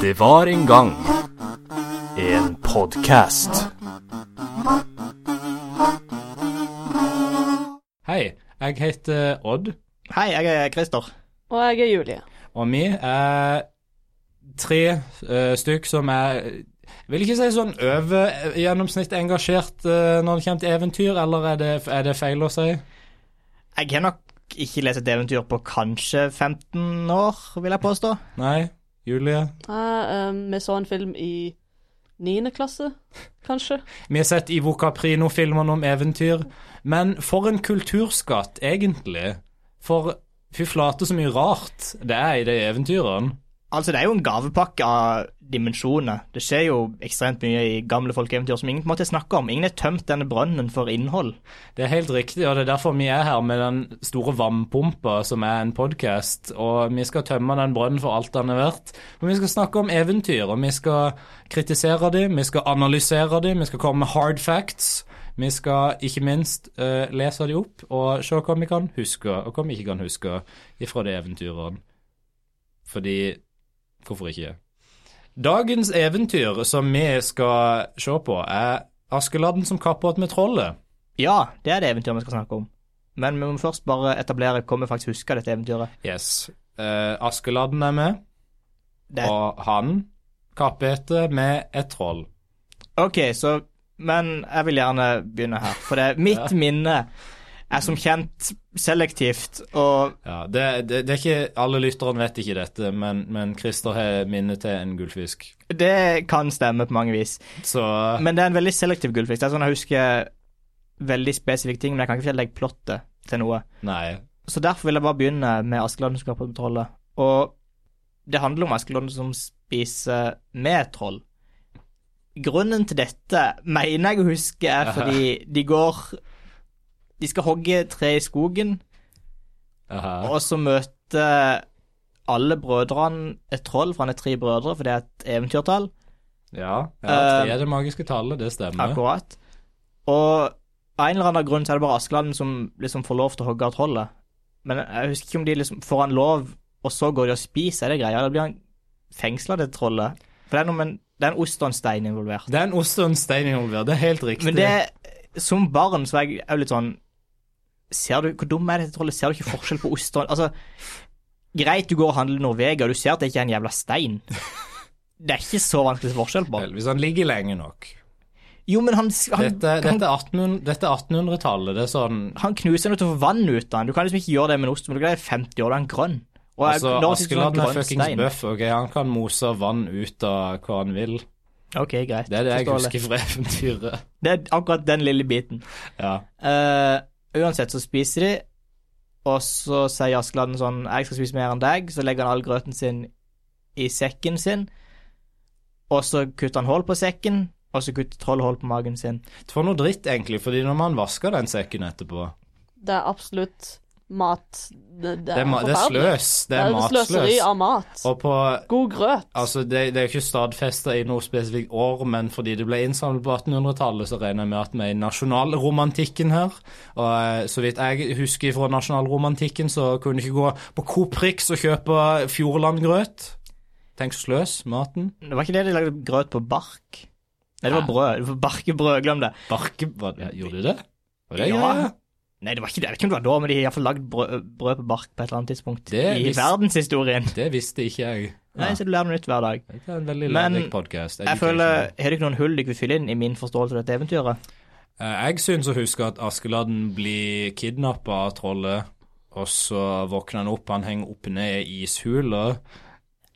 Det var en gang en podkast. Hei, jeg heter Odd, Hei, jeg er Christer. Og jeg er Julie. og vi er tre eh, stykk som er jeg vil ikke si sånn over gjennomsnitt engasjert eh, når det kommer til eventyr, eller er det, er det feil å si? Jeg har nok ikke lest et eventyr på kanskje 15 år, vil jeg påstå. Nei? Julie? Jeg, um, vi så en film i niende klasse, kanskje. Vi har sett Ivo Caprino-filmene om eventyr, men for en kulturskatt, egentlig. For fy flate så mye rart det er i de eventyrene. Altså, det er jo en gavepakke av dimensjoner. Det skjer jo ekstremt mye i gamle folkeeventyr som ingen på en måte snakker om. Ingen har tømt denne brønnen for innhold. Det er helt riktig, og det er derfor vi er her med den store vannpumpa som er en podkast. Og vi skal tømme den brønnen for alt den er verdt. Og vi skal snakke om eventyr, og vi skal kritisere dem, vi skal analysere dem, vi skal komme med hard facts. Vi skal ikke minst eh, lese dem opp og se hva vi kan huske, og hva vi ikke kan huske ifra de eventyrene. Fordi hvorfor ikke? Dagens eventyr som vi skal se på, er Askeladden som kappåt med trollet. Ja, det er det eventyret vi skal snakke om. Men vi må først bare etablere hva vi faktisk husker av dette eventyret. Yes. Eh, Askeladden er med, Det er... og han kappete med et troll. Ok, så Men jeg vil gjerne begynne her. For det, mitt minne er som kjent selektivt, og Ja, det, det, det er ikke, Alle lytterne vet ikke dette, men, men Christer har minne til en gullfisk. det kan stemme på mange vis. Så Men det er en veldig selektiv gullfisk. Det er sånn Jeg husker veldig spesifikke ting, men jeg kan ikke fortelle deg plottet til noe. nei. Så derfor vil jeg bare begynne med Askeladden som kappet med trollet. Og det handler om Askeladden som spiser med troll. Grunnen til dette mener jeg å huske er fordi de går De skal hogge tre i skogen, Aha. og så møter alle brødrene et troll, for han er tre brødre, for det er et eventyrtall. Ja, ja tre er det magiske tallet, det stemmer. Eh, Akkurat. Og av en eller annen grunn så er det bare Askeladden som liksom får lov til å hogge av trollet. Men jeg husker ikke om de liksom får han lov, og så går de og spiser, er det greia? Eller blir han fengsla, det trollet? For det er noe med en- det er en ost og en stein involvert. Det er en ost og en stein involvert, det er helt riktig. Men det Som barn så er jeg jo litt sånn Ser du Hvor dum er dette trollet? Ser du ikke forskjell på ost og Altså, greit, du går og handler Norvegia, du ser at det ikke er en jævla stein. Det er ikke så vanskelig å se forskjell på. Vel, Hvis han ligger lenge nok Jo, men han, han Dette, dette er 1800 dette er 1800-tallet, det er sånn han knuser noe til å få vann ut av den. Du kan liksom ikke gjøre det med en ost, men du kan gjøre det i 50 år, da er den grønn. Og jeg- Altså, da er det ikke sånn Askeladden er grønn fuckings stein. bøff, ok, han kan mose vann ut av hva han vil. Ok, greit. Det er det jeg Forståelig. husker fra eventyret. Det er akkurat den lille biten. Ja. Eh, uansett så spiser de, og så sier Askeladden sånn 'Jeg skal spise mer enn deg', så legger han all grøten sin i sekken sin, og så kutter han hull på sekken, og så kutter troll hull på magen sin. For noe dritt, egentlig, fordi når man vasker den sekken etterpå Det er absolutt mat Det, det Det er, ma det er forferdelig. sløs. Det er sløseri matsløs. av mat. Og på God grøt. Altså, det, det er jo ikke stadfesta i noe spesifikt år, men fordi det ble innsamlet på 1800-tallet, så regner jeg med at vi er i nasjonalromantikken her. Og eh, så vidt jeg husker fra nasjonalromantikken, så kunne du ikke gå på Coop Prix og kjøpe Fjordlandgrøt. Tenk så sløs, maten. Det var ikke det de lagde grøt på bark? Nei, det var Hæ? brød. Det var Barkebrød, glem det. Barke... Hva, ja, gjorde de det? Var det Ja. greia? Nei, det var ikke det. Jeg vet ikke om det var da, men de har iallfall lagd brød, brød på bark på et eller annet tidspunkt Det i visste- verdenshistorien. Det visste ikke jeg. Nei, så du lærer noe nytt hver dag. Det er en veldig Men lærerik podkast. Jeg føler, Har dere noen hull dere vil fylle inn i min forståelse av dette eventyret? Eh, Jeg syns å huske at Askeladden blir kidnappa av trollet, og så våkner han opp, han henger opp ned i ishula,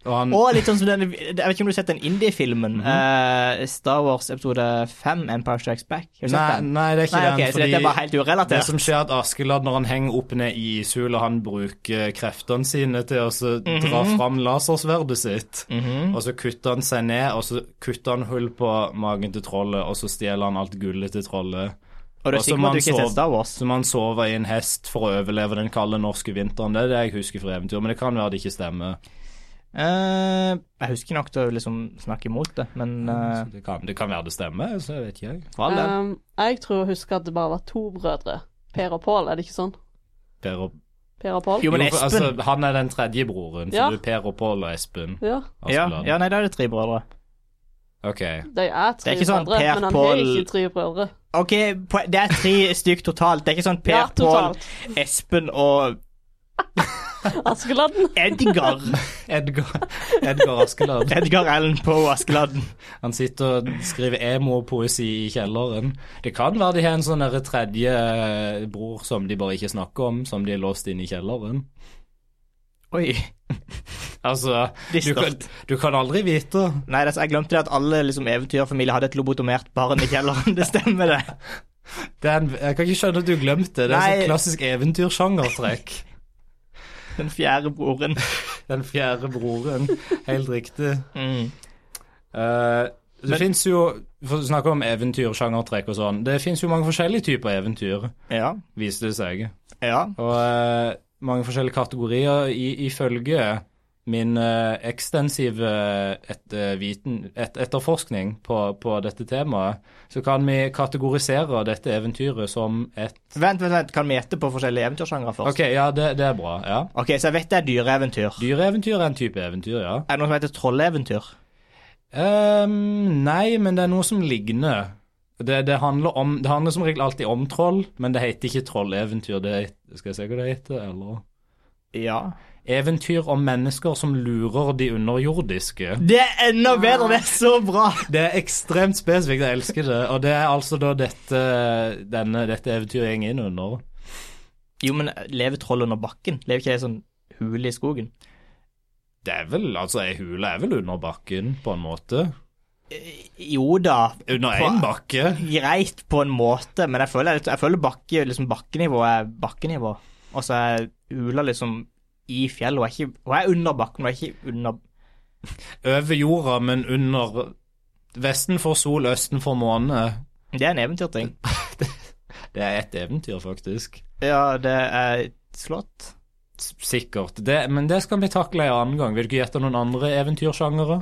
og han Og litt sånn som den, Jeg vet ikke om du har sett den indie-filmen? Mhm. eh, Star Wars episode 5, Empire Strikes Back. Har du Nei, sett den? nei, det er ikke Nei, den. ok, så dette er bare helt det urelatert. som skjer er at Askeladden når han henger opp ned i ishula, han bruker kreftene sine til å så dra fram lasersverdet sitt. Mhm. Og så kutter han seg ned, og så kutter han hull på magen til trollet, og så stjeler han alt gullet til trollet. Og du er og sikker som på at han du ikke har sov- sett Star Wars? Som han sover i en hest for å overleve den kalde norske vinteren. Det er det jeg husker fra eventyr, men det kan være det ikke stemmer. Eh, jeg husker nok til å liksom snakke imot det, men eh, Så Det kan, det kan være det stemmer, så jeg vet ikke jeg. for all del. Ehm, Um, jeg tror å huske at det bare var to brødre. Per og Pål, er det ikke sånn? Per og Per og Pål. Jo, men Jo, for, Espen altså, han er den tredje broren, for Ja. du er Per og Pål og Espen. Ja, ja, Askeladden. ja, nei, da er det tre brødre. Ok. de er Det tre er ikke sånn brødre, Per, men han er Pål- ikke tre brødre. OK, po- det er tre stykk totalt. Det er ikke sånn Per, Ja, Pål, totalt. Espen og Askeladden. Edgar. Edgar, Edgar Askeladden. Edgar Allen Poe Askeladden. Han sitter og skriver emo-poesi i kjelleren. Det kan være de har en sånn derre tredje eh, bror som de bare ikke snakker om, som de er låst inne i kjelleren. Oi. Altså, du kan, Dystert. du kan aldri vite. Nei, det- jeg glemte det at alle liksom, eventyrfamilier hadde et lobotomert barn i kjelleren. Det stemmer, det. Det er en, jeg kan ikke skjønne at du glemte det. Det er Nei. sånn klassisk eventyrsjangertrekk. Den fjerde broren. Den fjerde broren. Helt riktig. Mm. Eh, det Men- finnes jo For å snakke om eventyr, sjangertrekk og sånn. Det fins jo mange forskjellige typer eventyr, Ja. viser det seg. Ja. Og eh, mange forskjellige kategorier. I, ifølge min eh, ekstensive et, eh, viten, et, etterforskning på, på dette temaet, så kan vi kategorisere dette eventyret som et Vent, vent, vent. Kan vi gjette på forskjellige eventyrsjangre først? OK, ja, det, det er bra. ja. Ok, Så jeg vet det er dyreeventyr. Dyreeventyr er en type eventyr, ja. Er det noe som heter trolleventyr? Ehm, nei, men det er noe som ligner. Det, det, handler om, det handler som regel alltid om troll, men det heter ikke trolleventyr. Det het- skal jeg se hva det heter, eller Ja. Eventyr om mennesker som lurer de underjordiske. Det er enda bedre! Det er så bra! Det er ekstremt spesifikt, jeg elsker det. Og det er altså da dette, denne, dette eventyret går inn under. Jo, men eh, lever troll under bakken? Lever ikke det i sånn hule i skogen? Det er vel, altså, ei hule er vel under bakken, på en måte? Eh, Jo da, Under Hva? én bakke? greit på en måte, men jeg føler, jeg føler bakke, liksom bakkenivå er bakkenivå. Og så er hula liksom i fjellet. Hun er, ikke, hun er under bakken, hun er ikke under Over jorda, men under Vesten for sol, østen for måne. Det er en eventyrting. Det er et eventyr, faktisk. Ja, det er et slott. S- Sikkert. Det, men det skal vi takle en annen gang. Vil du ikke gjette noen andre eventyrsjangere?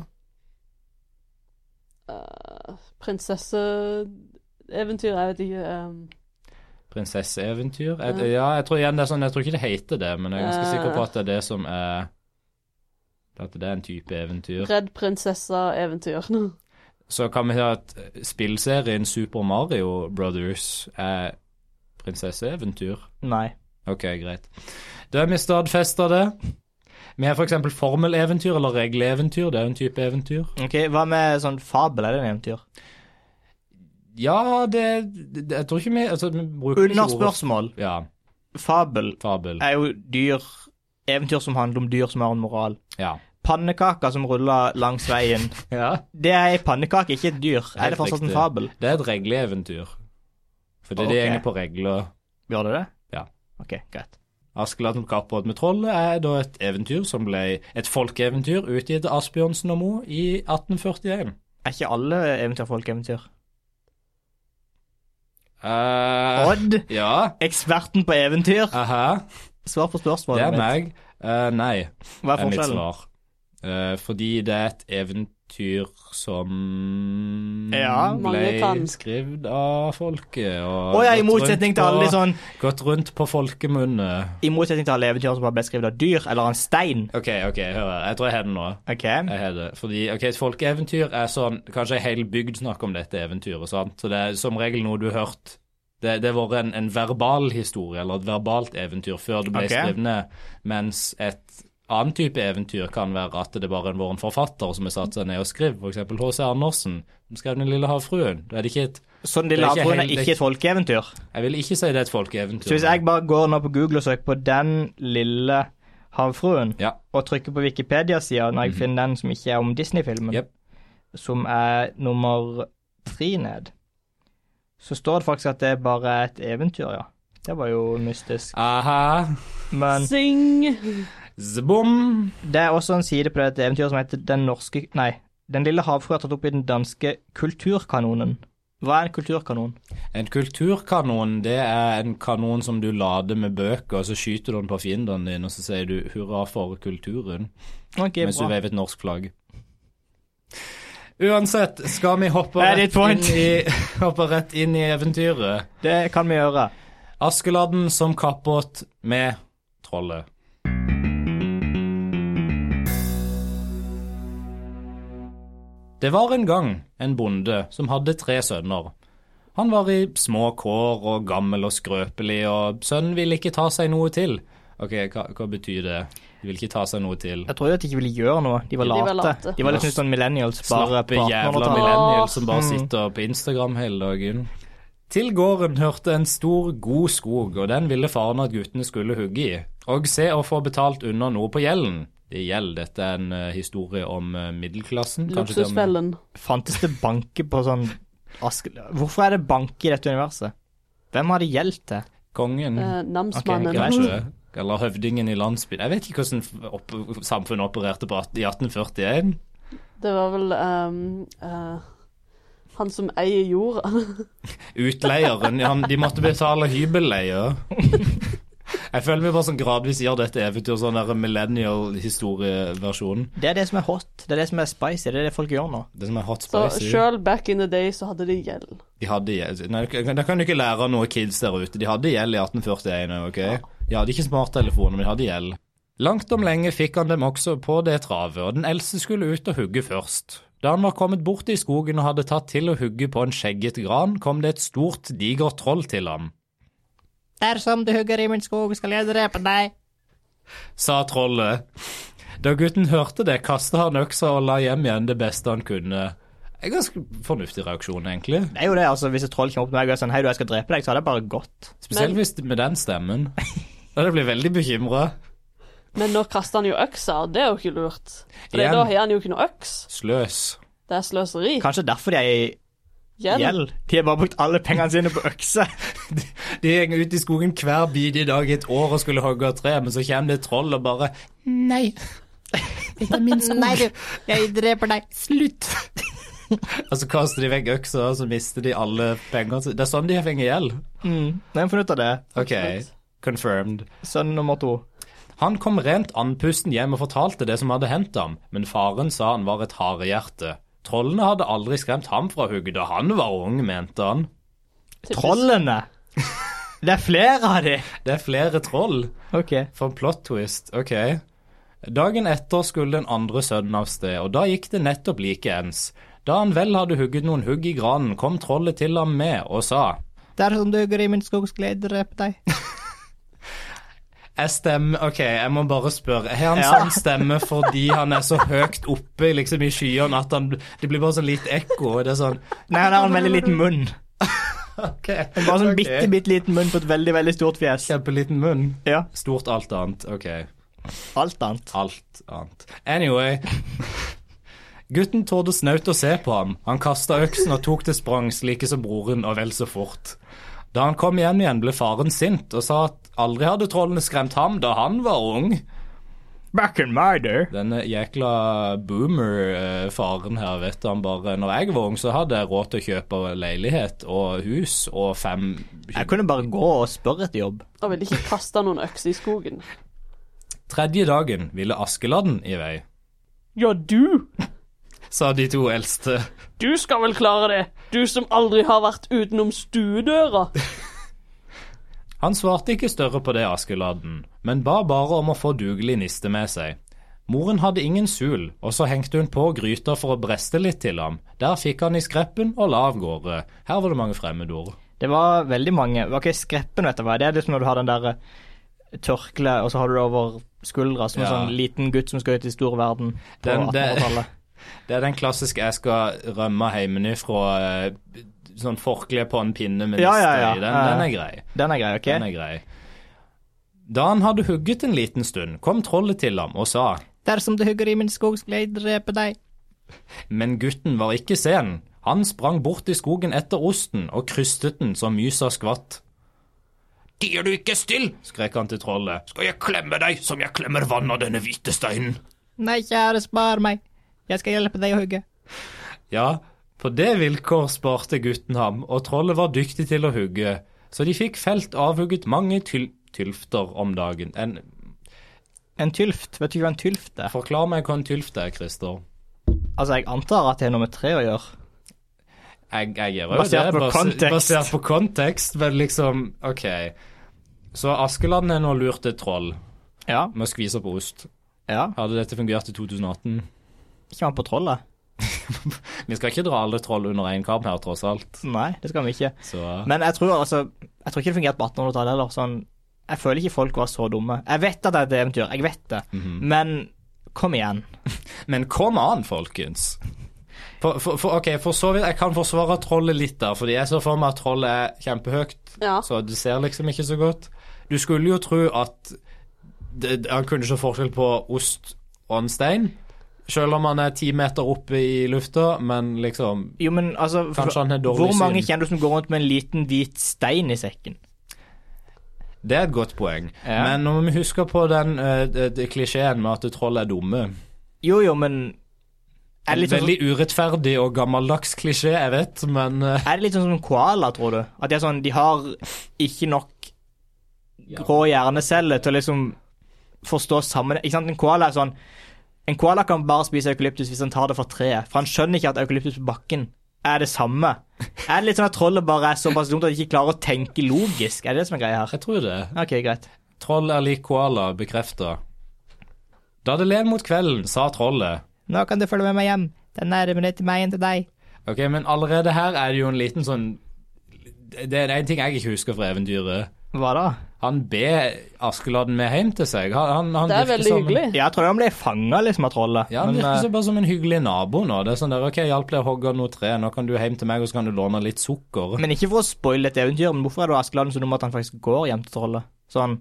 Eh, Prinsesseeventyr, jeg vet ikke. ehm, Prinsesseeventyr? Jeg- Ja. Ja, jeg tror igjen det er sånn Jeg tror ikke det heter det, men jeg er ganske Eh. sikker på at det er det som er At det er en type eventyr. Redd prinsessa-eventyr. Så kan vi si at spillserien Super Mario Brothers er prinsesseeventyr. Nei. Ok, greit. Da er vi stadfesta det. Vi har f.eks. formeleventyr eller regleeventyr. Det er jo en type eventyr. Ok, Hva med sånn fabel? Er det en eventyr? Ja, det, det Jeg tror ikke vi altså, vi bruker ikke Under ordet- spørsmål. Ja, Fabel fabel. er jo dyr Eventyr som handler om dyr som har en moral. Ja. Pannekaker som ruller langs veien. Det er ei pannekake, ikke et dyr. Er Helt det fortsatt en riktig. fabel? Det er et regleeventyr. For det er det Ok. gjenger på regler. Gjør det det? Ja. Ok, greit. Askeladden på kappbåt med trollet er da et eventyr som ble et folkeeventyr utgitt av Asbjørnsen og Moe i 1841. Er ikke alle eventyr folkeeventyr? eh Odd, ja. eksperten på eventyr, Aha. svar på Det er spørsmålet mitt. meg. Eh, nei, Hva er er mitt forskjellen? svar. Eh, fordi det er et eventyr som Ja. Mange kan. ble skrevet av folket. Å Og ja, i gått motsetning rundt til alle på- de sånn Gått rundt på folkemunne. I motsetning til alle eventyr som bare ble skrevet av dyr eller av en stein. OK, ok, hør her. Jeg tror jeg har det nå. Ok, Jeg har det. Fordi, ok, Et folkeeventyr er sånn Kanskje ei hel bygd snakker om dette eventyret. sant? Så Det er som regel noe du har hørt. Det, det har vært en, en verbal historie, eller et verbalt eventyr, før det ble Ok. skrevet ned. Mens et annen type eventyr kan være at det bare har vært en forfatter som har satt seg ned og skrevet. F.eks. H.C. Andersen, som skrev Den lille havfruen. Da er det ikke et Sånn de Det er ikke lavbrune er helt- ikke et folkeeventyr. Jeg vil ikke si det er et folkeeventyr. Så hvis jeg bare går nå på Google og søker på 'Den lille havfruen', Ja. Mhm. og trykker på Wikipedia-sida når jeg finner den som ikke er om Disney-filmen, Jep. som er nummer tre ned, så står det faktisk at det er bare et eventyr, ja. Det var jo mystisk. Aha. Men Sing! Zbom. det er også en side på dette eventyret som heter 'Den norske Nei. 'Den lille havfrue' er tatt opp i den danske kulturkanonen. Hva er en kulturkanon? En kulturkanon, det er en kanon som du lader med bøker, og så skyter du den på fienden din, og så sier du hurra for kulturen, Ok, mens du bra. veiver et norsk flagg. Uansett, skal vi hoppe That rett is point. inn i, hoppe rett inn i eventyret? Det kan vi gjøre. Askeladden som kappåt med trollet. Det var en gang en bonde som hadde tre sønner. Han var i små kår og gammel og skrøpelig, og sønnen ville ikke ta seg noe til. Ok, hva, hva betyr det? De vil ikke ta seg noe til. Jeg tror jo at de ikke ville gjøre noe. De var De late. var late. De var litt sånn millennials, bare Slappe på jævla 1800-tallet. millennials som bare Mm. sitter på Instagram hele dagen. Til gården hørte en stor, god skog, og den ville faren at guttene skulle hugge i. Og se å få betalt under noe på gjelden. Det gjeld, dette er en eh, historie om eh, middelklassen. kanskje til og med- Luksusfellen. Fantes det banke på sånn Aske... Hvorfor er det banke i dette universet? Hvem har det gjeldt til? Kongen, Eh, namsmannen. Ok, greit. kanskje. Eller høvdingen i landsbyen. Jeg vet ikke hvordan opp, samfunnet opererte på, at- i 1841. det var vel ehm, eh, han som eier jorda. Utleieren, han, de måtte betale hybelleie. Jeg føler vi bare sånn gradvis gjør dette eventyr sånn der millennial-historieversjon. Det er det som er hot. Det er det som er spicy. Det er det folk gjør nå. Det som er sånn hot Så spicy. sjøl back in the day så hadde de gjeld. De hadde gjeld. Nei, da kan du ikke lære av noen kids der ute. De hadde gjeld i 1841 òg, OK? De hadde ikke smarttelefoner, men de hadde gjeld. Langt om lenge fikk han dem også på det travet, og den eldste skulle ut og hugge først. Da han var kommet bort i skogen og hadde tatt til å hugge på en skjegget gran, kom det et stort, digert troll til ham. Dersom du hugger i min skog, skal jeg drepe deg. sa trollet. Da gutten hørte det, kastet han øksa og la hjem igjen det beste han kunne. En ganske fornuftig reaksjon, egentlig. Det er jo det, altså. Hvis et troll kommer opp til meg og er sånn Hei, du, jeg skal drepe deg, så hadde jeg bare gått. Spesielt Men- hvis det- med den stemmen. Da hadde jeg blitt veldig bekymra. Men nå kaster han jo øksa, og det er jo ikke lurt. For Igjen. da har han jo ikke noe øks. Sløs. Det er sløseri. Kanskje derfor de er i Gjeld. gjeld. De har bare brukt alle pengene sine på økser. De gikk ut i skogen hver bidige dag i et år og skulle hogge et tre, men så kommer det et troll og bare Nei. Dette er min skog. Nei, du. Jeg dreper deg. Slutt. Og så kaster de vekk øksa, og så mister de alle pengene. sine. Det er sånn de har fengt gjeld. Mm. Nei, jeg funnet ut av det. OK. Confirmed. Sønn nummer to. Han kom rent andpusten hjem og fortalte det som hadde hendt ham, men faren sa han var et harehjerte. Trollene hadde aldri skremt ham fra hugget da han var ung, mente han. Typisk. Trollene. Det er flere av de. Det er flere troll. OK. For en plot twist, ok. Dagen etter skulle den andre sønnen av sted, og da gikk det nettopp likeens. Da han vel hadde hugget noen hugg i granen, kom trollet til ham med og sa Dersom sånn du hugger i min skog, skal jeg drepe deg. Jeg stemmer Ok, jeg må bare spørre. Har han Ja. sånn stemme fordi han er så høyt oppe liksom i skyene at han Det blir bare sånn litt ekko, og det er sånn Nei, han har en veldig liten munn. Ok. Bare sånn Ok. bitte, bitte liten munn på et veldig, veldig stort fjes. Kjempeliten munn. Ja. Stort alt annet. Ok, Alt annet. alt annet. Anyway. Gutten torde snaut å se på ham. Han kasta øksen og tok til sprangs, like som broren, og vel så fort. Da han kom hjem igjen, ble faren sint og sa at aldri hadde trollene skremt ham da han var ung. Back in my day. Denne jækla boomer-faren her, vet han bare Når jeg var ung, så hadde jeg råd til å kjøpe leilighet og hus og fem Jeg kunne bare gå og spørre etter jobb. Og ville ikke kaste noen økser i skogen. Tredje dagen ville Askeladden i vei, Ja, du! sa de to eldste. Du skal vel klare det! Du som aldri har vært utenom stuedøra. Han svarte ikke større på det Askeladden, men ba bare om å få dugelig niste med seg. Moren hadde ingen sul, og så hengte hun på gryter for å breste litt til ham. Der fikk han i skreppen og la av gårde. Her var det mange fremmedord. Det var veldig mange. Ok, Skreppen, vet du hva. Det er liksom når du har den der eh, tørkle, og så har du det over skuldra, som en Ja. sånn liten gutt som skal ut i stor verden på Den- det- 1800-tallet. Det er den klassiske 'jeg skal rømme heimenifra' eh, sånn forkle på en pinne med niste Ja, ja, ja. i. Den, Ja, ja. den er grei. Den er grei, OK? Den er grei. Da han hadde hugget en liten stund, kom trollet til ham og sa Dersom du hugger i min skog, skal jeg drepe deg. Men gutten var ikke sen. Han sprang bort i skogen etter osten og krystet den så mysa skvatt. Tier du ikke still, skrek han til trollet, skal jeg klemme deg som jeg klemmer vann av denne hvite steinen. Nei, kjære, spar meg. Jeg skal hjelpe deg å hugge. Ja, på det vilkår sparte gutten ham, og trollet var dyktig til å hugge, så de fikk felt og avhugget mange tyl tylfter om dagen. En, En tylft. Vet du ikke hva en tylft er? forklar meg hva en tylft er, Christer. Altså, jeg antar at det har noe med tre å gjøre. Jeg, jeg gjør jo Basert det, på bas- kontekst. Basert på kontekst, men liksom, ok. Så Askeland er nå lurt et troll. Ja. med å skvise på ost. ja. Hadde dette fungert i 2018? Ikke han på trollet? Vi skal ikke dra alle troll under én kam her, tross alt. Nei, det skal vi ikke. Så Men jeg tror altså Jeg tror ikke det fungerte på 1800-tallet heller. Sånn, jeg føler ikke folk var så dumme. Jeg vet at det er et eventyr, jeg vet det. mhm. Men kom igjen. Men kom an, folkens. For, for, for, ok, for så vidt, Jeg kan forsvare trollet litt der, fordi jeg ser for meg at trollet er kjempehøyt, Ja. så du ser liksom ikke så godt. Du skulle jo tro at det, han kunne ikke forskjell på ost og en stein, selv om han er ti meter oppe i lufta, men liksom Jo, men altså Kanskje han har dårlig Hvor mange syn. kjenner du som går rundt med en liten hvit stein i sekken? Det er et godt poeng. Ja. Men nå må vi huske på den eh, d- d- klisjeen med at troll er dumme. Jo, jo, men Er det litt sånn, Veldig urettferdig og gammeldags klisjé, jeg vet, men eh, er det litt sånn som koala, tror du? At de, er sånn, de har ikke nok grå hjerneceller til å liksom forstå sammen Ikke sant? En koala er sånn En koala kan bare spise eukalyptus hvis han tar det fra treet, for han skjønner ikke at eukalyptus på bakken er det samme. Er det litt sånn at trollet bare er såpass dumt at de ikke klarer å tenke logisk? Er det det som er greia her? jeg tror det. OK, greit. Troll er lik koala, bekrefta. Da det len mot kvelden, sa trollet. Nå kan du følge med meg hjem. Det er nærmere til meg enn til deg. Ok, men allerede her er det jo en liten sånn Det er en ting jeg ikke husker fra eventyret. Hva da? Han ber Askeladden med hjem til seg. Han, han, han Det er virker veldig som en- hyggelig. Ja, jeg tror han ble fanga liksom, av trollet. Ja, han Men, virker eh, så bare som en hyggelig nabo nå. Det er sånn der, ok, jeg hjalp deg å hogge noe tre, nå kan du hjem til meg, og så kan du låne litt sukker. men ikke for å spoile et eventyr, men hvorfor er du Askeladden så dum at han faktisk går hjem til trollet? Sånn.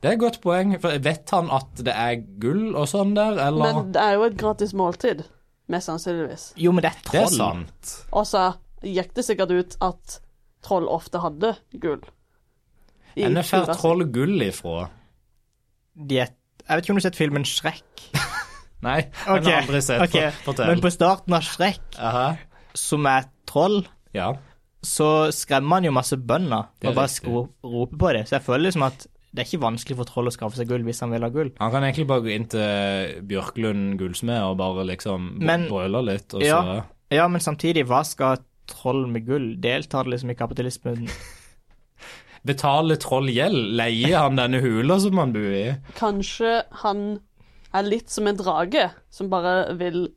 Det er et godt poeng, for vet han at det er gull og sånn der, eller? Men det er jo et gratis måltid, mest sannsynligvis. Jo, men det er det er troll. sant. Og så gikk det sikkert ut at troll ofte hadde gull. I Henne får kulda si. troll gull ifra. De er- Jeg vet ikke om du har sett filmen Shrek? Nei, Ok, den har jeg aldri sett. ok. For- Fortell. Men på starten av Shrek, Aha. som er et troll, Ja. så skremmer han jo masse bønder Det er og bare riktig. skro- roper på dem. Så jeg føler liksom at det er ikke vanskelig for troll å skaffe seg gull hvis han vil ha gull. Han kan egentlig bare gå inn til Bjørklund gullsmed og bare liksom bo- Men- brøle litt, og så Ja. Ja, men samtidig, hva skal troll med gull? Deltar det liksom i kapitalismen? betale trollgjeld, leie han denne hula som han bor i. Kanskje han er litt som en drage som bare vil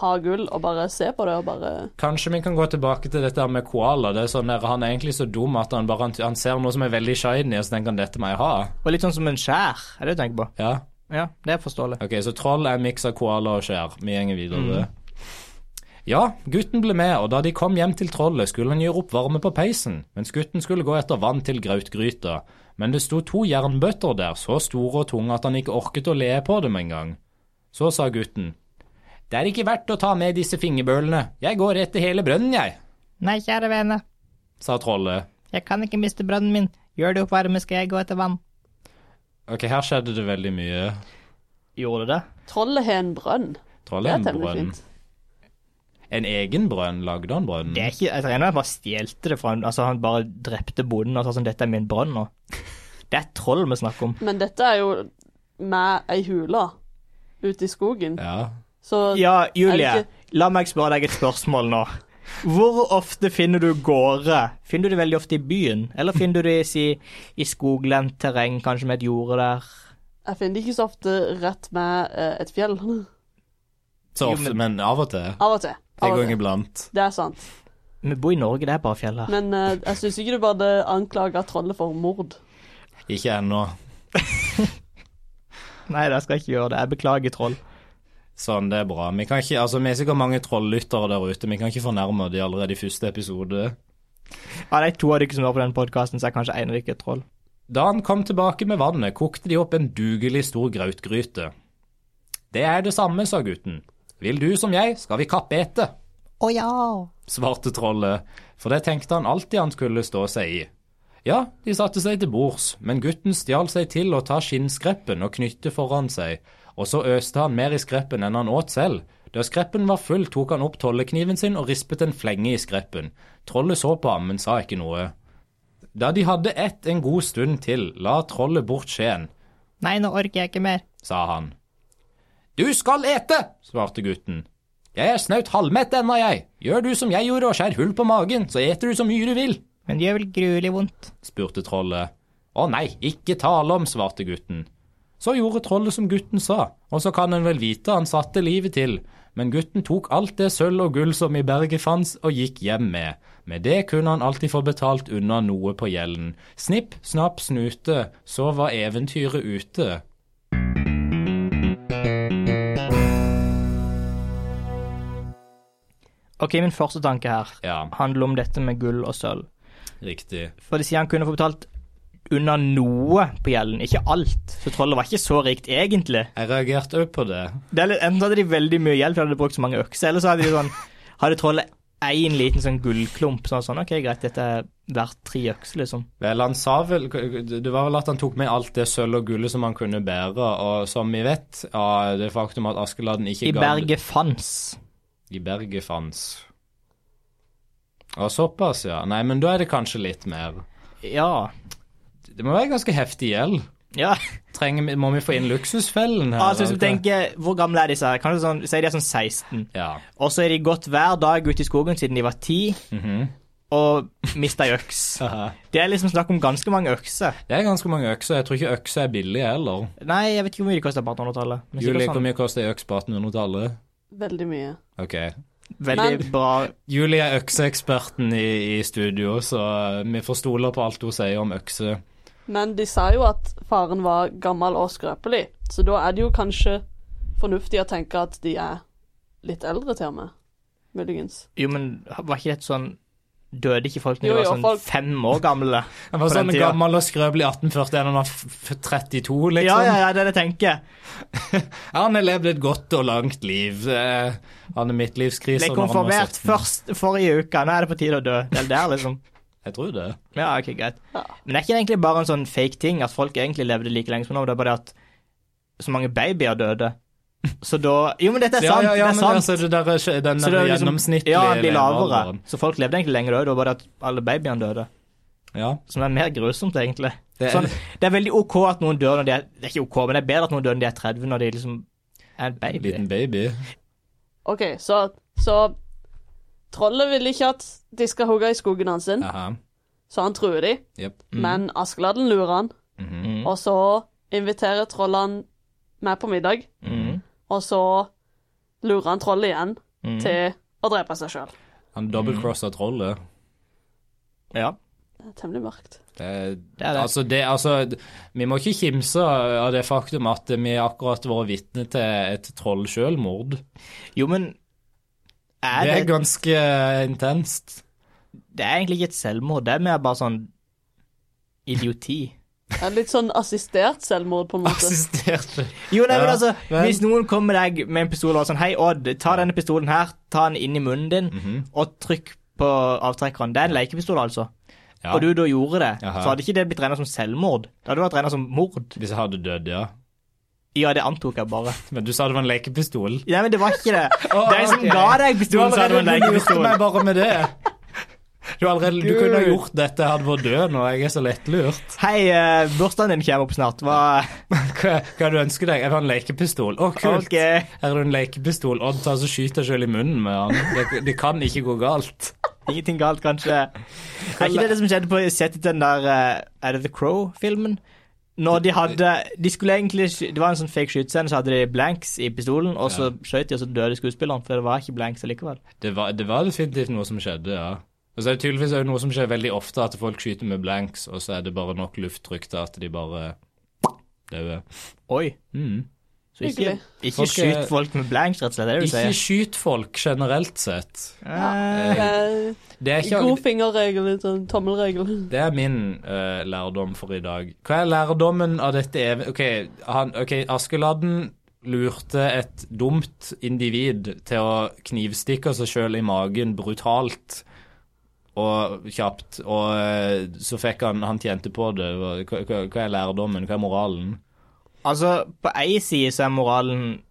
ha gull og bare se på det og bare Kanskje vi kan gå tilbake til dette her med koala. Det er sånn der, Han er egentlig så dum at han bare han, han ser noe som er veldig shiny, og så tenker han dette må jeg ha. Og litt sånn som en skjær, er det du tenker på? Ja, Ja, det er forståelig. ok, Så troll er en miks av koala og skjær. Vi gjenger videre. Mm. Ja, gutten ble med, og da de kom hjem til trollet, skulle han gjøre opp varme på peisen, mens gutten skulle gå etter vann til grautgryta. Men det sto to jernbøtter der, så store og tunge at han ikke orket å le på dem engang. Så sa gutten, det er ikke verdt å ta med disse fingerbølene, jeg går etter hele brønnen, jeg, Nei, kjære vene, sa trollet. jeg kan ikke miste brønnen min. Gjør det opp varme, skal jeg gå etter vann. Ok, her skjedde det veldig mye. Gjorde det? Trollet har en brønn. Det er temmelig Trollheimbrønn. fint. En egen brønn? Lagde han brønnen? Det er ikke, altså, jeg regner med at han bare stjelte det fra en, altså han bare drepte bonden og sa sånn, dette er min brønn nå. Det er et troll vi snakker om. Men dette er jo med ei hule ute i skogen, Ja. så Ja, Julie, Er det la meg spørre deg et spørsmål nå. Hvor ofte finner du gårde? Finner du det veldig ofte i byen? Eller finner du det i, si, i skoglendt terreng, kanskje med et jorde der? jeg finner ikke så ofte rett med eh, et fjell. Så Jo, ofte, men- men av og til. Av og til. En Av og gang til. iblant. Det er sant. Vi bor i Norge, det er bare fjell her. Men eh, jeg syns ikke du burde anklage trollet for mord. Ikke ennå. Nei, det skal jeg ikke gjøre det. Jeg beklager troll. Sånn, det er bra. Vi kan ikke, altså, vi er sikkert mange trollyttere der ute. Vi kan ikke fornærme de allerede i første episode. Ja, det er to av dere som hører på den podkasten, så er kanskje en av dere et troll. Da han kom tilbake med vannet, kokte de opp en dugelig stor grautgryte. Det er det samme, sa gutten. Vil du som jeg, skal vi kappete. Å ja. svarte trollet, for det tenkte han alltid han skulle stå seg i. Ja, de satte seg til bords, men gutten stjal seg til å ta skinnskreppen og knytte foran seg, og så øste han mer i skreppen enn han åt selv. Da skreppen var full, tok han opp tollekniven sin og rispet en flenge i skreppen. Trollet så på ham, men sa ikke noe. Da de hadde ett en god stund til, la trollet bort skjeen, Nei, nå orker jeg ikke mer. sa han. Du skal ete, svarte gutten. Jeg er snaut halvmett ennå, jeg. Gjør du som jeg gjorde og skjær hull på magen, så eter du så mye du vil, Men det gjør vel gruelig vondt. spurte trollet. Å nei, ikke tale om, svarte gutten. Så gjorde trollet som gutten sa, og så kan en vel vite han satte livet til, men gutten tok alt det sølv og gull som i berget fanns, og gikk hjem med. Med det kunne han alltid få betalt unna noe på gjelden. Snipp, snapp, snute, så var eventyret ute. Ok, min første tanke her Ja, handler om dette med gull og sølv. riktig. For de sier han kunne få betalt under noe på gjelden, ikke alt. Så trollet var ikke så rikt, egentlig. Jeg reagerte òg på det. Det er litt, enten så hadde de veldig mye gjeld, for de hadde brukt så mange økser, eller så hadde de sånn Hadde trollet én liten sånn gullklump, sånn sånn OK, greit, dette er verdt tre økser, liksom. Vel, han sa vel Det var vel at han tok med alt det sølv og gullet som han kunne bære, og som vi vet, av det faktum at Askeladden ikke I ga berget fanns. I berget fanns. Og såpass, ja. Nei, men da er det kanskje litt mer. Ja. Det må være ganske heftig gjeld. Ja. Trenger, vi- må vi få inn luksusfellen her? Altså, hvis eller du hva? tenker Hvor gamle er disse her? Kanskje sånn Si de er sånn 16. Ja. Og så er de gått hver dag ute i skogen siden de var 10, mhm. og mista ei øks. Det er liksom snakk om ganske mange økser. Det er ganske mange økser. Jeg tror ikke økser er billige heller. Nei, jeg vet ikke hvor mye de koster på 1800-tallet. men sikkert Julie, hvor sånn mye koster ei øks på 1800-tallet? Veldig mye. Ok. Veldig bra. Julie er økseeksperten i, i studio, så vi får stole på alt hun sier om økser. Men de sa jo at faren var gammel og skrøpelig, så da er det jo kanskje fornuftig å tenke at de er litt eldre til og med. Muligens. Jo, men var ikke det et sånn Døde ikke folk når Jo, de var jo, sånn folk- fem år gamle? Han var På den sånn tida. gammel og skrøpelig 1841, han var f- f- 32, liksom. Ja, ja, ja, det er det jeg tenker. Han har levd et godt og langt liv. Eh, han er sånn midtlivskrise når Ble han var konfirmert 17. først forrige uke. Nå er det på tide å dø. Det er der, liksom. Jeg tror det. Ja, ok, greit. Ja. Men det er ikke det egentlig bare en sånn fake ting at folk egentlig levde like lenge som nå? Det er bare det at så mange babyer døde. Så da Jo, men dette er sant! ja, ja, det er men sant. altså, det der, er ikke- den så det der er liksom- gjennomsnittlige Ja, han blir lavere. levealderen. Så folk levde egentlig lenger òg, det var bare at alle babyene døde. Ja, Som er mer grusomt, egentlig. det er, Sånn, det er veldig OK at noen dør når de er Det er ikke OK, men det er bedre at noen dør når de er 30, når de liksom er en baby. en liten baby. OK, så, så Trollet vil ikke at de skal hogge i skogen hans, sin, Aha. så han truer de. Jep. Men Askeladden lurer han, Mhm. Mm. og så inviterer trollet han med på middag. Mm. Og så lurer han trollet igjen Mm. til å drepe seg sjøl. Han dobbeltcrossa trollet. Ja. Det er temmelig mørkt. Det er, Det er det. Altså, det, altså, vi må ikke kimse av det faktum at vi akkurat har vært vitne til et trollsjølmord. Jo, men er Det det, er ganske intenst. det er egentlig ikke et selvmord, det er mer bare sånn idioti. Det er litt sånn assistert selvmord, på en måte. Assistert Jo, nei, men Ja, altså, men- hvis noen kommer med deg med en pistol og er sånn Hei, Odd, ta denne pistolen her, ta den inn i munnen din, Mhm. og trykk på avtrekkeren. Det er en lekepistol, altså. Ja. Og du da gjorde det, Jaha. så hadde ikke det blitt regna som selvmord. Det hadde vært regna som mord. Hvis jeg hadde dødd, ja. Ja, det antok jeg bare. Men du sa det var en lekepistol. Nei, men det var ikke det. sånn Å, De som ok. ga deg pistolen, sa det var lurte en meg lekepistol. bare med det. Du, har allerede, du kunne ha Gud. gjort dette, jeg hadde vært død nå. Jeg er så lettlurt. Hei, eh, bursdagen din kommer opp snart. Hva Hva, hva du ønsker deg? Jeg vil ha en lekepistol. Å, kult. OK. Her er det en lekepistol. Odd tar så skyter jeg selv i munnen med han. Det, det kan ikke gå galt. Ingenting galt, kanskje. Er ikke det det som skjedde på settet til den der eh, Er det The Crow-filmen? Når de hadde De skulle egentlig sky- Det var en sånn fake skytescene, så hadde de blanks i pistolen, og så skjøt de, og så døde skuespilleren, for det var ikke blanks allikevel. Det var, det var definitivt noe som skjedde, ja. Og så er det tydeligvis også noe som skjer veldig ofte, at folk skyter med blanks, og så er det bare nok lufttrykk til at de bare dauer. Oi. Mm. Så ikke, Hyggelig. ikke Folk er- skyt folk med blanks, rett og slett. Det er det du Ikke sier. skyt folk generelt sett. Eh, Eh, Det er, ikke, god fingerregel, litt sånn tommelregel. det er min eh, lærdom for i dag. Hva er lærdommen av dette ev... Ok, han, ok, Askeladden lurte et dumt individ til å knivstikke seg sjøl i magen brutalt og kjapt, og eh, så fikk han Han tjente på det. Hva, hva, hva er lærdommen? Hva er moralen? Altså, på ei side så er moralen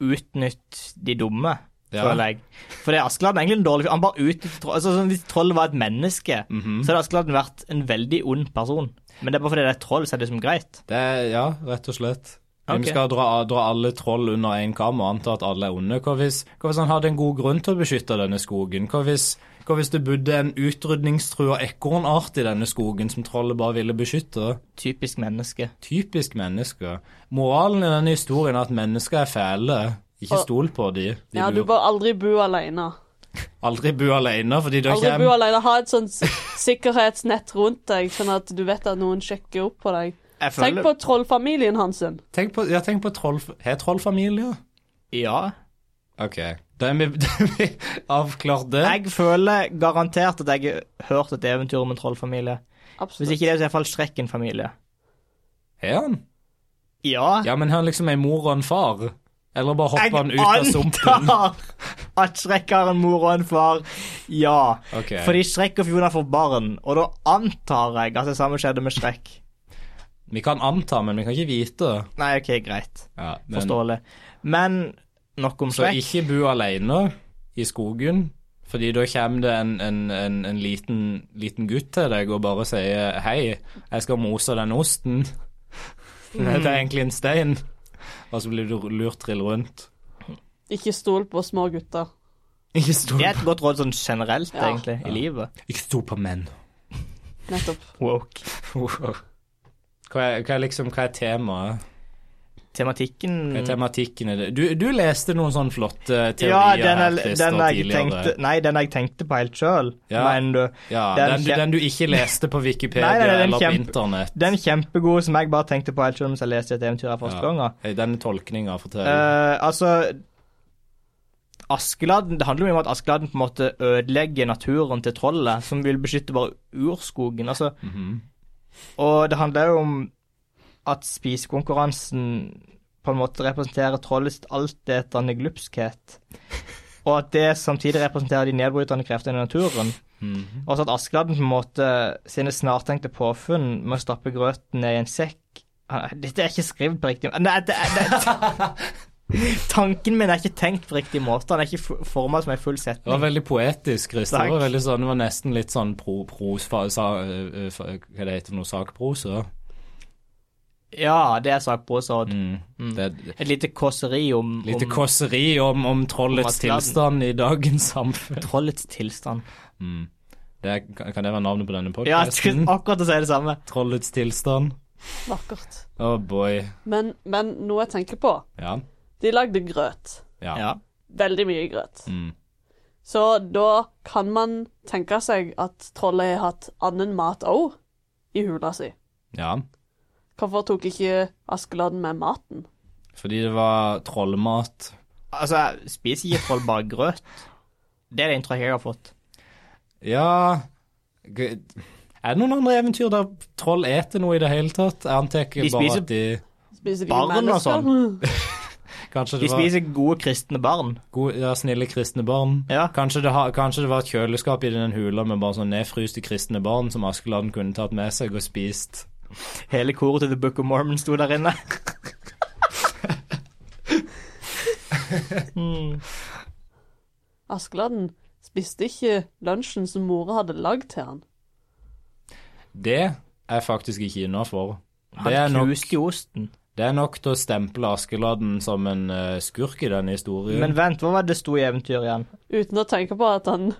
utnytt de dumme, Ja. føler jeg. For det er Askeladden egentlig en dårlig fyr. Han bare utnytter troll. Altså, sånn, hvis trollet var et menneske, Mhm. så hadde Askeladden vært en veldig ond person. Men det er bare fordi det er et troll, så er det liksom greit. Det er, ja, rett og slett. Men Ok. Vi skal dra, dra alle troll under én kam og anta at alle er onde. Hva hvis, hva hvis han hadde en god grunn til å beskytte denne skogen? Hva hvis, hva hvis det bodde en utrydningstrua ekornart i denne skogen som trollet bare ville beskytte? Typisk menneske. Typisk mennesker. Moralen i denne historien er at mennesker er fæle. Ikke Og- stol på de. de Ja, du lurer. bør aldri bo alene. Aldri bo alene, fordi da Aldri bo kommer alene. Ha et sånt sikkerhetsnett rundt deg, sånn at du vet at noen sjekker opp på deg. Jeg Tenk på trollfamilien Hansen. Tenk på, ja, tenk på troll... Har trollfamilier? Ja. OK. Da er vi, da er vi avklart det. Jeg føler garantert at jeg har hørt et eventyr om en trollfamilie. Hvis Absolutt. ikke det, så er det iallfall Strekken-familie. Har han? Ja. Ja, men har han liksom ei mor og en far? Eller bare hopper han Jeg ut av sumpen? antar at Shrek har en mor og en far. Ja. Ok. Fordi Shrek og Fiona får barn, og da antar jeg at det samme skjedde med Shrek. Vi kan anta, men vi kan ikke vite. Nei, OK, greit. Ja, men, Forståelig. Men nok om så Shrek. ikke bo alene i skogen, fordi da kommer det en, en, en, en liten, liten gutt til deg og bare sier 'hei, jeg skal mose den osten'. Nei, det er egentlig en stein. Og så blir du lurt trill rundt. Ikke stol på små gutter. Ikke stol, Det er et godt råd sånn generelt, Ja. egentlig, i livet. ikke stol på menn. Nettopp. Woke. hva, er, hva, er liksom, hva er temaet? Tematikken Hva er tematikken i det? Du, du leste noen sånne flotte teorier Mm. Ja, den, her, jeg- Christer, den jeg tidligere. tenkte Nei, den jeg tenkte på helt sjøl, Ja. men du Ja, Den den, du, kjem- den du ikke leste på Wikipedia Nei, nei, den eller på kjempe- internett. Den kjempegode som jeg bare tenkte på helt sjøl mens jeg leste et eventyr her første Ja. gangen. Eh, Den tolkninga forteller Eh, altså Askeladden, Det handler jo om at Askeladden på en måte ødelegger naturen til trollet, som vil beskytte bare urskogen. altså. Mhm. Og det handler jo om at spisekonkurransen på en måte representerer trollets altetende glupskhet. Og at det samtidig representerer de nedbrytende kreftene i naturen. Mhm. Og så at Askeladden på en måte sine snartenkte påfunn med å stappe grøten ned i en sekk Han- Dette er ikke skrevet på riktig måte. Nei, det, det, tanken min er ikke tenkt på riktig måte. Den er ikke forma som en full Det var setning. veldig poetisk, Christer. Det Takk. var, veldig sånn, det var nesten litt sånn pro, pros... Fa, sa, eh, eh, fa, hva det heter for noe? Sakprosa? Ja, det er sakprosa. og Mm. Det er et sånn- Et lite kåseri om, lite om kåseri om, om trollets om at tilstand i dagens samfunn. trollets tilstand. Mm. Det, er- kan kan det være navnet på denne Ja, jeg podkasten? skulle akkurat å si det samme. Trollets tilstand. Vakkert. Oh boy. Men, men noe jeg tenker på Ja. De lagde grøt. Ja. Ja. Veldig mye grøt. Mm. Så da kan man tenke seg at trollet har hatt annen mat òg i hula si. ja. Hvorfor tok ikke Askeladden med maten? Fordi det var trollmat. Altså, jeg spiser ikke troll bare grøt. Det er det inntrykket jeg har fått. Ja g- Er det noen andre eventyr der troll eter noe i det hele tatt? Jeg antar ikke De bare spiser- at de Spiser de Barn og sånn. mennesker? Kanskje det De spiser gode kristne barn. var gode, ja, snille kristne barn. Ja. Kanskje det, har- kanskje det var et kjøleskap i den hula med bare sånn nedfryste kristne barn som Askeladden kunne tatt med seg og spist. Hele koret til The Book of Mormon sto der inne. mm. Askeladden spiste ikke lunsjen som mora hadde lagd til han. Det er faktisk ikke innafor. Det, er Han nok- knuste jo osten. det er nok til å stemple Askeladden som en eh, skurk i denne historien. Men vent, hva var det det sto i eventyret igjen? Uten å tenke på at han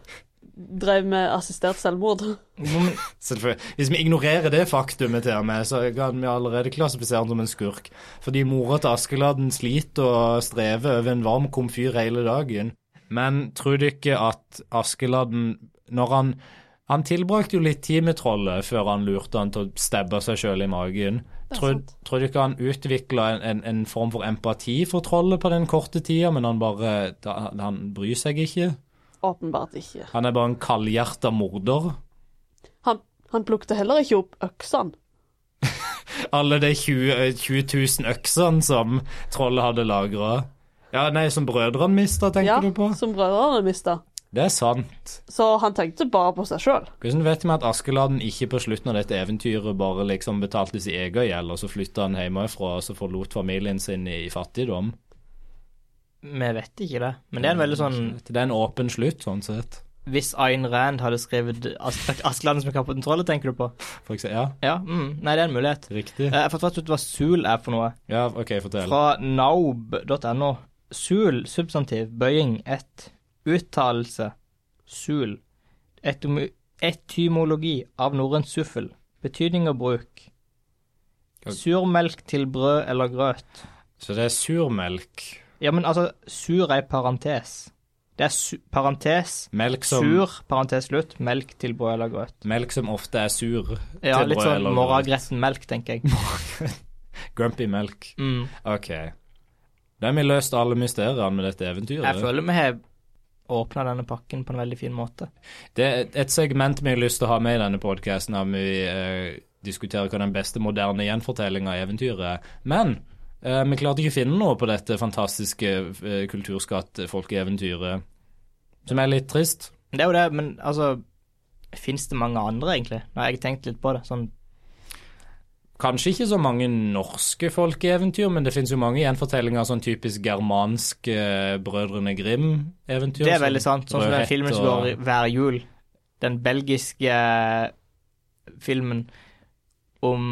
drev med assistert selvmord. Mm, Selvfølgelig. Hvis vi ignorerer det faktumet til og med, så kan vi allerede klassifisere han som en skurk. Fordi mora til Askeladden sliter og strever over en varm komfyr hele dagen. Men tror du ikke at Askeladden, når han Han tilbrakte jo litt tid med trollet før han lurte han til å stabbe seg sjøl i magen. er Tror, sant. tror du ikke han utvikla en, en, en form for empati for trollet på den korte tida, men han bare da- Han bryr seg ikke? Åpenbart ikke. Han er bare en kaldhjerta morder. Han, han plukte heller ikke opp øksene. alle de 20, 20 000 øksene som trollet hadde lagra. Ja, nei, som brødrene mista, tenker Ja, du på? som brødrene mista. Det er sant. Så han tenkte bare på seg sjøl. Hvordan vet vi at Askeladden ikke på slutten av dette eventyret bare liksom betalte sin egen gjeld, og så flytta han hjemmefra og så forlot familien sin i fattigdom? Mm, Vi vet ikke det, men det er en veldig sånn Det er en åpen slutt, sånn sett. hvis Ayn Rand hadde skrevet As Askeladden som kapper den trollet, tenker du på? For eksempel, ja, Ja, mm, nei, det er en mulighet. riktig. Eh, Jeg har fått rett ut hva sul er for noe. Ja, OK, fortell. Fra naub.no. Sul, substantiv, bøying, ett. Uttalelse, sul. Etymo- Etymologi av norrønt suffel. Betydning og bruk. Ok. Surmelk til brød eller grøt. Så det er surmelk. Ja, men altså, sur er i parentes. Det er su parentes, Melk som, sur, parentes slutt, melk til brød eller grøt. melk som ofte er sur. Ja, til litt brød sånn eller morgengretten melk, tenker jeg. Grumpy melk. Mm. OK. Da har vi løst alle mysteriene med dette Jeg eventyret. føler vi har åpna denne pakken på en veldig fin måte. Det er et- et segment vi har lyst til å ha med i denne podkasten, der vi eh, diskuterer hva den beste moderne gjenfortellinga av eventyret er. Men eh, vi klarte ikke å finne noe på dette fantastiske eh, kulturskatt-folkeeventyret, som er litt trist. Det er jo det, men altså Fins det mange andre, egentlig? Nå har jeg tenkt litt på det. Sånn Kanskje ikke så mange norske folkeeventyr, men det finnes jo mange gjenfortellinger av sånn typisk germansk eh, Brødrene Grim-eventyr. Det er veldig sant. Sånn som den Rødhette filmen som og- går hver jul. Den belgiske eh, filmen om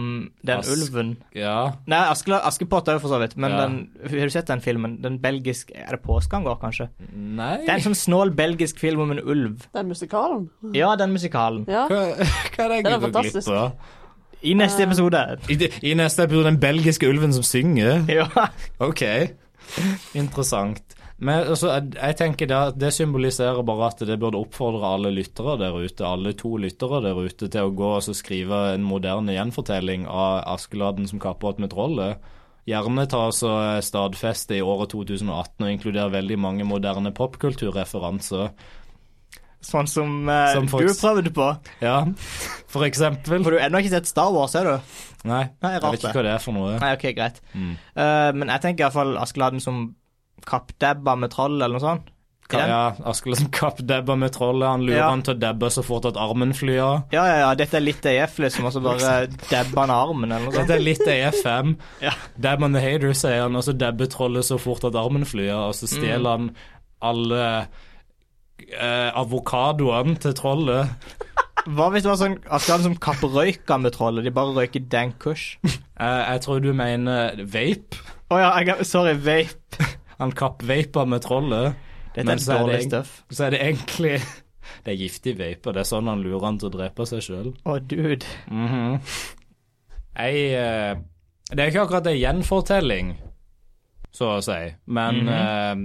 den Ask- ulven Ja, Nei, Askela, Askepott òg, for så vidt. Men Ja. den, har du sett den filmen? Den belgiske Er det påske han går, kanskje? nei Det er en sånn snål belgisk film om en ulv. Den musikalen. Ja, den musikalen. Ja. Hva, hva er det jeg Den er går glipp fantastisk. av? I neste episode. I, de- I neste episode den belgiske ulven som synger. Ja. Ok, interessant. Men altså, jeg, jeg tenker det, det symboliserer bare at det burde oppfordre alle lyttere der ute, alle to lyttere der ute, til å gå og så skrive en moderne gjenfortelling av Askeladden som kappåt med trollet. Gjerne ta oss og eh, stadfeste i året 2018 og inkludere veldig mange moderne popkulturreferanser. Sånn som, eh, Som folk- du prøvde på. Ja, for eksempel. For du har ennå ikke sett Star Wars, er du? Nei, Nei, jeg rart vet det. ikke hva det er for noe. Nei, ok, greit. Mm. Eh, men jeg tenker iallfall Askeladden som kappdabba sånn med troll, eller noe sånt. I Ka, den- ja, Askeladd som kappdabber med trollet. Han lurer Ja. han til å dabbe så fort at armen flyr av. Ja, ja, ja. Dette er litt EF, liksom, og så bare dabba han armen, eller noe sånt. Dette er litt AFM. Ja. Dab on the hater, sier han, og så dabber trollet så fort at armen flyr, og Mm. så stjeler han alle eh, avokadoene til trollet. Hva hvis det var sånn Askeladden som kapprøyka med trollet? De bare røyker Dan Kush. Å Eh, jeg tror du mener vape. ja, jeg, sorry, vape. Han kappvaper med trollet. Dette Men så er er dårlig det en- stuff. Så er det egentlig Det er giftig vape, og det er sånn han lurer han til å drepe seg sjøl. Å, dude. Jeg eh, Det er ikke akkurat en gjenfortelling, så å si, men eh,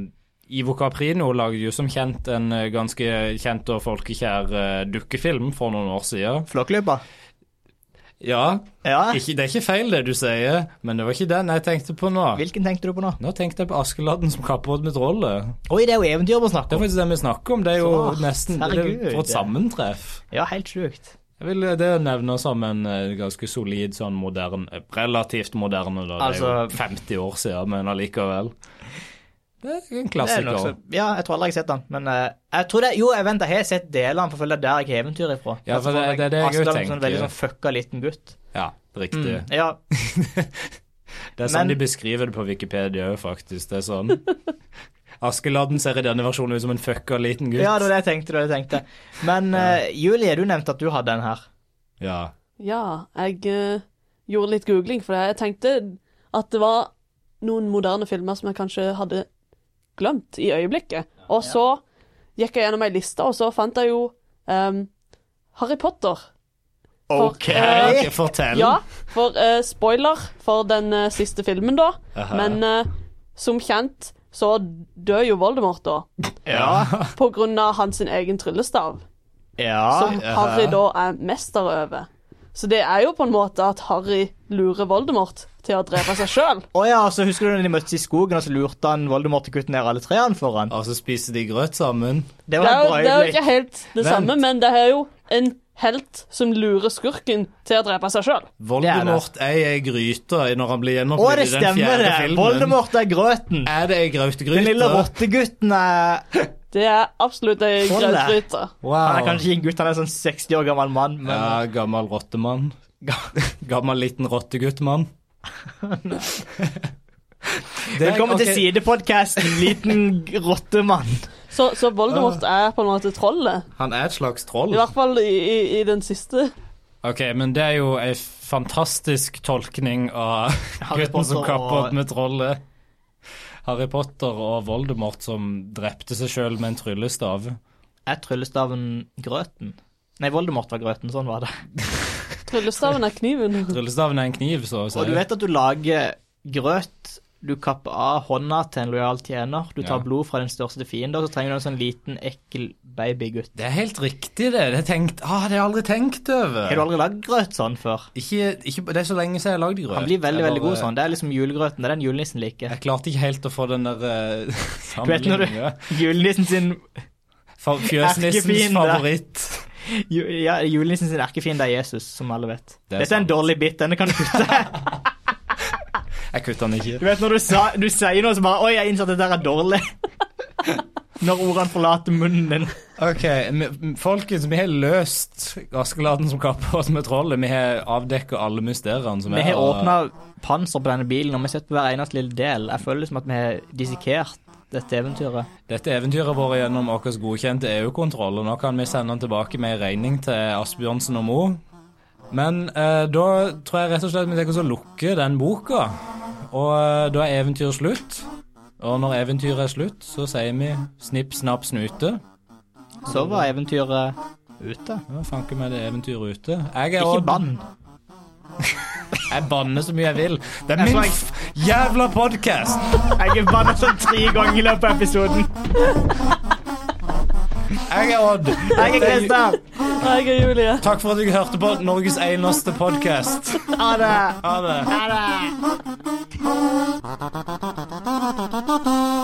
Ivo Caprino lagde jo som kjent en eh, ganske kjent og folkekjær eh, dukkefilm for noen år siden. Flåklypa? Ja, Ja. ikke, det er ikke feil det du sier, men det var ikke den jeg tenkte på nå. Hvilken tenkte du på nå? Nå tenkte jeg på Askeladden som kapper med trollet. Oi, det er jo eventyr vi snakker Det er om. faktisk det vi snakker om. Det er jo Så, nesten det er jo herregud. for et sammentreff. Ja, helt sjukt. Jeg vil eh, det nevne som en eh, ganske solid sånn moderne eh, Relativt moderne, da. Altså- det er jo 50 år siden, men allikevel. Det er en Det er nok klassiker. så- Ja, jeg tror aldri jeg har sett den, men eh, jeg tror det Jo, jeg vent, jeg har sett deler av den, for følge der jeg har eventyr ifra. Ja, for det- Jeg tror det er det jeg også Aslan som en veldig tenker. sånn fucka liten gutt. Ja, Mm, riktig. ja, Det er sånn Men- de beskriver det på Wikipedia òg, faktisk. Det er sånn. Askeladden ser i denne versjonen ut som en fucka liten gutt. ja, det var det jeg tenkte. Det var det jeg tenkte. Men eh, Julie, du nevnte at du hadde en her. Ja. Ja, jeg eh, gjorde litt googling, for jeg tenkte at det var noen moderne filmer som jeg kanskje hadde glemt i øyeblikket. Og så gikk jeg gjennom ei liste, og så fant jeg jo ehm, Harry Potter. For, Ja, eh, ok, fortell. ja, for eh, spoiler for den eh, siste filmen, da. Aha. Men eh, som kjent så dør jo Voldemort, da. Ja. På grunn av hans sin egen tryllestav. ja. som Harry ja. da er mester over. Så det er jo på en måte at Harry lurer Voldemort til å drepe seg sjøl. Å ja, så husker du når de møttes i skogen, og så lurte han Voldemort til å kutte ned alle trærne for han? Og så spiser de grøt sammen. Det Det, var er et jo- bra det er jo øyeblikk. ikke helt det Vent. samme, men det er jo en helt som lurer skurken til å drepe seg sjøl. Voldemort er ei gryte når han blir Å, det gjenopplivet i den stemmer, fjerde det! filmen. Voldemort er grøten. Er det ei grøtgryte? Den lille rottegutten er Det er absolutt ei Trollet. grøtbryter. Han er Wow. kanskje ikke en gutt, han er sånn 60 år gammel mann, men Ja, gammel rottemann. Gammel liten rotteguttmann. Det- Velkommen ok. til sidepodkasten, liten rottemann. Så, så Voldemort er på en måte trollet. Han er et slags troll. I hvert fall i, i, i den siste. Ok, men det er jo ei fantastisk tolkning av Harry gutten som Potter kapper og- opp med trollet. Harry Potter og Voldemort som drepte seg sjøl med en tryllestav. Er tryllestaven grøten? Nei, Voldemort var grøten, sånn var det. Tryllestaven er kniven. Tryllestaven er en kniv, så å si. Og du vet at du lager grøt. Du kapper av hånda til en lojal tjener. Du tar Ja. blod fra den største fiende, og så trenger du en sånn liten, ekkel babygutt. Det er helt riktig, det. Det, er tenkt, ah, det har jeg aldri tenkt over. Har du aldri lagd grøt sånn før? Ikke, ikke, det er så lenge siden jeg lagde grøt. Han blir veldig, Jeg veldig bare- god sånn. Det er liksom julegrøten. Det er den julenissen liker. Jeg klarte ikke helt å få den der eh, Du vet når du- sammenligninga. Julenissen sin, Fa- Fjøsnissens Erkefiende. favoritt. ju, ja, julenissen sin erkefiende er Jesus, som alle vet. Det er Dette er en sant. dårlig bit. Denne kan du kutte. Jeg kutter den Du ikke. vet når du, sa, du sier noe, så bare Oi, jeg innser at dette er dårlig. Når ordene forlater munnen din. Ok, men Folkens, vi har løst Askeladden som kapper oss med trollet. Vi har avdekka alle mysteriene som Vi er har åpna panser på denne bilen, og vi har sett på hver eneste lille del. Jeg føler det som at vi har dissekert dette eventyret. Dette eventyret vårt gjennom vår godkjente EU-kontroll, og nå kan vi sende den tilbake med en regning til Asbjørnsen og Mo. Men eh, da tror jeg rett og slett vi tenker oss å lukke den boka. Og eh, da er eventyret slutt. Og når eventyret er slutt, så sier vi snipp, snapp, snute. Så var eventyret ute. Ja, Fanken meg det eventyret ute. Jeg er Ikke Odd. bann. Jeg banner så mye jeg vil. Det er Jeg min tror jeg- f jævla podkast! Jeg er banna sånn tre ganger i løpet av episoden. Jeg er Odd. Jeg er Christer. Jeg er Julie. Takk for at du hørte på Norges eneste podkast. Ha det. Ha det. Ha det. Thank you.